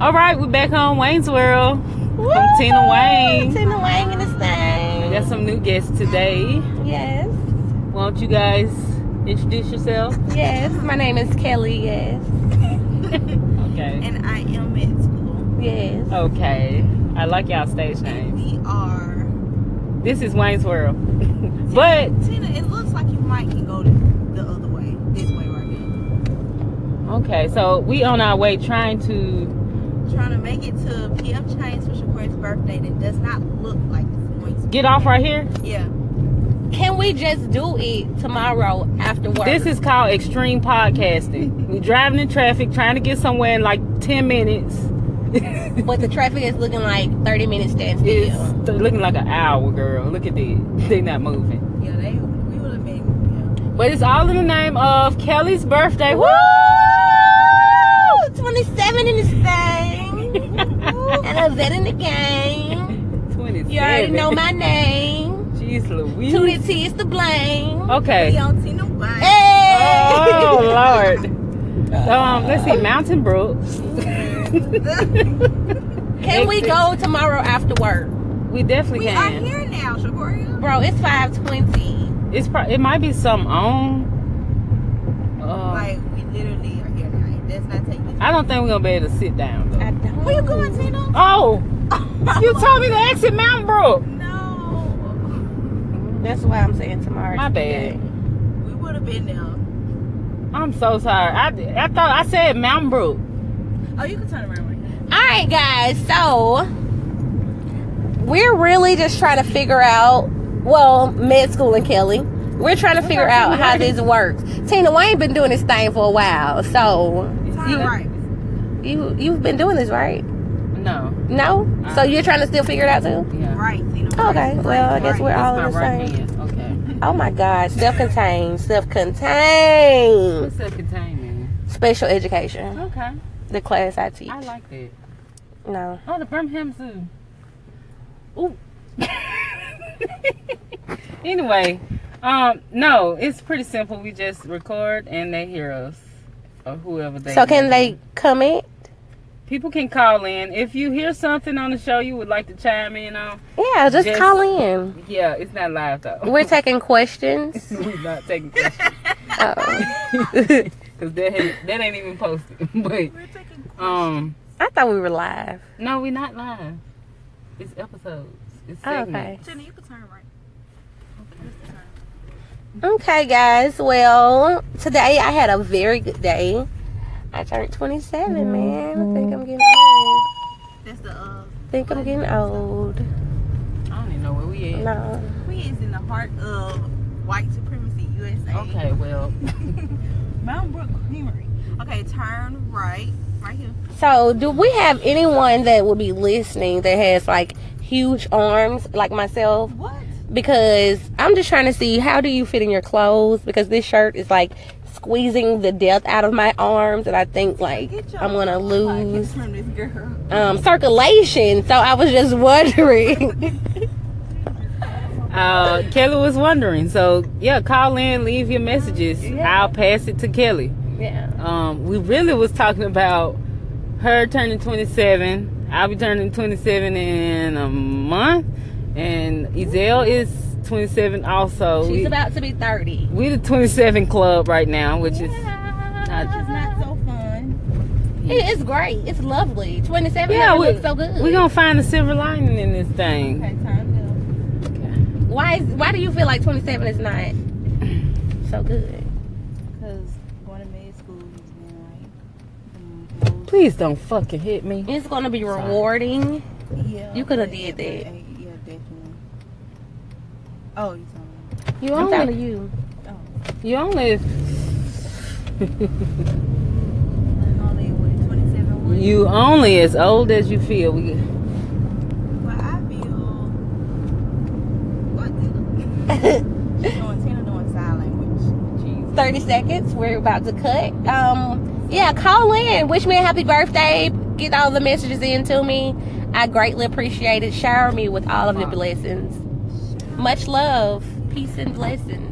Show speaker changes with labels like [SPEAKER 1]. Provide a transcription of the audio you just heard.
[SPEAKER 1] All right, we back home, Wayne's World.
[SPEAKER 2] Woo!
[SPEAKER 1] Tina Wayne.
[SPEAKER 2] Tina Wayne in this
[SPEAKER 1] We
[SPEAKER 2] thing.
[SPEAKER 1] got some new guests today.
[SPEAKER 2] Yes.
[SPEAKER 1] Won't you guys introduce yourself?
[SPEAKER 2] Yes. My name is Kelly. Yes.
[SPEAKER 1] Okay.
[SPEAKER 3] and I am at school.
[SPEAKER 2] Yes.
[SPEAKER 1] Okay. I like y'all stage names.
[SPEAKER 3] We are
[SPEAKER 1] This is Wayne's World. but
[SPEAKER 3] Tina. It looks like you might can go the other way, this way right now.
[SPEAKER 1] okay, so we on our way trying to
[SPEAKER 3] Trying to make it to PF Chang's for Shakur's birthday. That does not look like it's going to.
[SPEAKER 1] get off right here.
[SPEAKER 3] Yeah,
[SPEAKER 2] Can we just do it tomorrow after work?
[SPEAKER 1] This is called extreme podcasting. we driving in traffic, trying to get somewhere in like ten minutes.
[SPEAKER 2] But the traffic is looking like 30 minutes standstill.
[SPEAKER 1] It's looking like an hour, girl. Look at this. They not moving.
[SPEAKER 3] yeah. They we would have been.
[SPEAKER 1] But it's all in the name of Kelly's birthday. Woo!
[SPEAKER 2] Woo! 27 in this thing. and a vet in the game.
[SPEAKER 1] 27.
[SPEAKER 2] You already know my name.
[SPEAKER 1] Jeez Louise.
[SPEAKER 2] Tuna T is to blame.
[SPEAKER 3] Yeah. We
[SPEAKER 1] Okay.
[SPEAKER 3] on Tina Wayne.
[SPEAKER 2] Hey!
[SPEAKER 1] Oh Lord. Um, let's see, Mountain Brook.
[SPEAKER 2] Can we
[SPEAKER 1] Exit.
[SPEAKER 2] go tomorrow after work?
[SPEAKER 1] We definitely
[SPEAKER 3] we are
[SPEAKER 1] can.
[SPEAKER 3] here now, Shakur.
[SPEAKER 2] Bro, it's 520.
[SPEAKER 1] It's pro- it might be some on. Uh,
[SPEAKER 3] Like we literally are here now. It does not take this.
[SPEAKER 1] I don't think we're gonna be able to sit down. Though.
[SPEAKER 2] I don't.
[SPEAKER 3] Where you going, Tina?
[SPEAKER 1] Oh, you told me to exit Mountain Brook.
[SPEAKER 3] No,
[SPEAKER 2] That's why I'm saying tomorrow.
[SPEAKER 1] My
[SPEAKER 2] today.
[SPEAKER 3] we would have been there.
[SPEAKER 1] I'm so sorry. I, I thought I said Mountain Brook.
[SPEAKER 3] Oh, you can turn around right now.
[SPEAKER 2] All right, guys. So we're really just trying to figure out. Well, med school and Kelly, we're trying to figure out how this works. Tina Wayne been doing this thing for a while, so
[SPEAKER 3] Turn right.
[SPEAKER 2] you you've been doing this right?
[SPEAKER 1] No.
[SPEAKER 2] No. So you're trying to still figure it out too?
[SPEAKER 1] Yeah.
[SPEAKER 3] Right, Tina.
[SPEAKER 2] Okay.
[SPEAKER 3] Right,
[SPEAKER 2] Well, Uh, I guess
[SPEAKER 3] right.
[SPEAKER 2] we're all
[SPEAKER 1] That's my
[SPEAKER 2] the
[SPEAKER 1] right
[SPEAKER 2] same.
[SPEAKER 1] hand. Okay.
[SPEAKER 2] Oh my God! Self-contained. Self-contained.
[SPEAKER 1] What's up, containment?
[SPEAKER 2] Special education.
[SPEAKER 1] Okay.
[SPEAKER 2] The class I teach.
[SPEAKER 1] I like that.
[SPEAKER 2] No.
[SPEAKER 1] Oh, the Birmingham Zoo. Ooh. anyway, um, no, it's pretty simple. We just record and they hear us, or whoever they.
[SPEAKER 2] So can they comment?
[SPEAKER 1] People can call in if you hear something on the show you would like to chime in on.
[SPEAKER 2] Yeah, just,
[SPEAKER 1] Just-
[SPEAKER 2] call in.
[SPEAKER 1] Yeah, it's not live though.
[SPEAKER 2] We're taking questions.
[SPEAKER 1] We're not taking questions
[SPEAKER 2] Oh.
[SPEAKER 1] because that ain't- that ain't even posted. but
[SPEAKER 3] We're taking
[SPEAKER 1] um,
[SPEAKER 2] I thought we were live.
[SPEAKER 1] no, we're not live. It's episodes. It's
[SPEAKER 2] Oh,
[SPEAKER 1] segments.
[SPEAKER 2] okay.
[SPEAKER 3] Jenny, you can turn right.
[SPEAKER 2] Okay, guys. Well, today I had a very good day. I turned 27, man. I think I'm getting old.
[SPEAKER 3] That's the uh,
[SPEAKER 2] think I'm getting old.
[SPEAKER 1] I don't even know where we at.
[SPEAKER 2] No.
[SPEAKER 3] we is in the heart of white supremacy USA.
[SPEAKER 1] Okay, well,
[SPEAKER 3] Mount Brook Creamery. Okay, turn right, right here.
[SPEAKER 2] So, do we have anyone that would be listening that has like huge arms like myself?
[SPEAKER 3] What?
[SPEAKER 2] Because I'm just trying to see how do you fit in your clothes? Because this shirt is like squeezing the death out of my arms, and I think like
[SPEAKER 3] Get your
[SPEAKER 2] I'm gonna lose.
[SPEAKER 3] podcast from this girl.
[SPEAKER 2] um, circulation. So I was just wondering.
[SPEAKER 1] uh, Kelly was wondering. So yeah, call in, leave your messages.
[SPEAKER 2] Yeah.
[SPEAKER 1] I'll pass it to Kelly.
[SPEAKER 2] yeah.
[SPEAKER 1] Um, we really was talking about her turning 27. I'll be turning 27 in a month, and Izelle is 27 also. we,
[SPEAKER 2] She's about to be 30.
[SPEAKER 1] we the 27 club right now, which
[SPEAKER 2] It's
[SPEAKER 3] Not so fun.
[SPEAKER 2] it's great. It's lovely. 27
[SPEAKER 1] is
[SPEAKER 2] yeah,
[SPEAKER 1] yeah. We,
[SPEAKER 2] looks so good.
[SPEAKER 1] we gonna find a silver lining in this thing.
[SPEAKER 3] Okay, turn
[SPEAKER 2] why is why do you feel like 27 is not so good?
[SPEAKER 3] left. Cause going to med school has been like the most-
[SPEAKER 1] Please don't fucking hit me.
[SPEAKER 2] It's gonna be rewarding.
[SPEAKER 3] Yeah.
[SPEAKER 2] You coulda did that.
[SPEAKER 3] Yeah, definitely. Oh, you talking?
[SPEAKER 1] You
[SPEAKER 2] I'm proud
[SPEAKER 1] only
[SPEAKER 2] of you.
[SPEAKER 1] you only
[SPEAKER 3] about- Only what, 27 weeks?
[SPEAKER 1] You only as old as you feel. We,
[SPEAKER 3] Well, I feel. What? She's doing Tina doing sign language.
[SPEAKER 2] 30 seconds. We're about to cut. Um, yeah, call in. Wish me a happy birthday. Get all the messages in to me. I greatly appreciate it. Shower me with all of your blessings. Much love, peace, and blessings.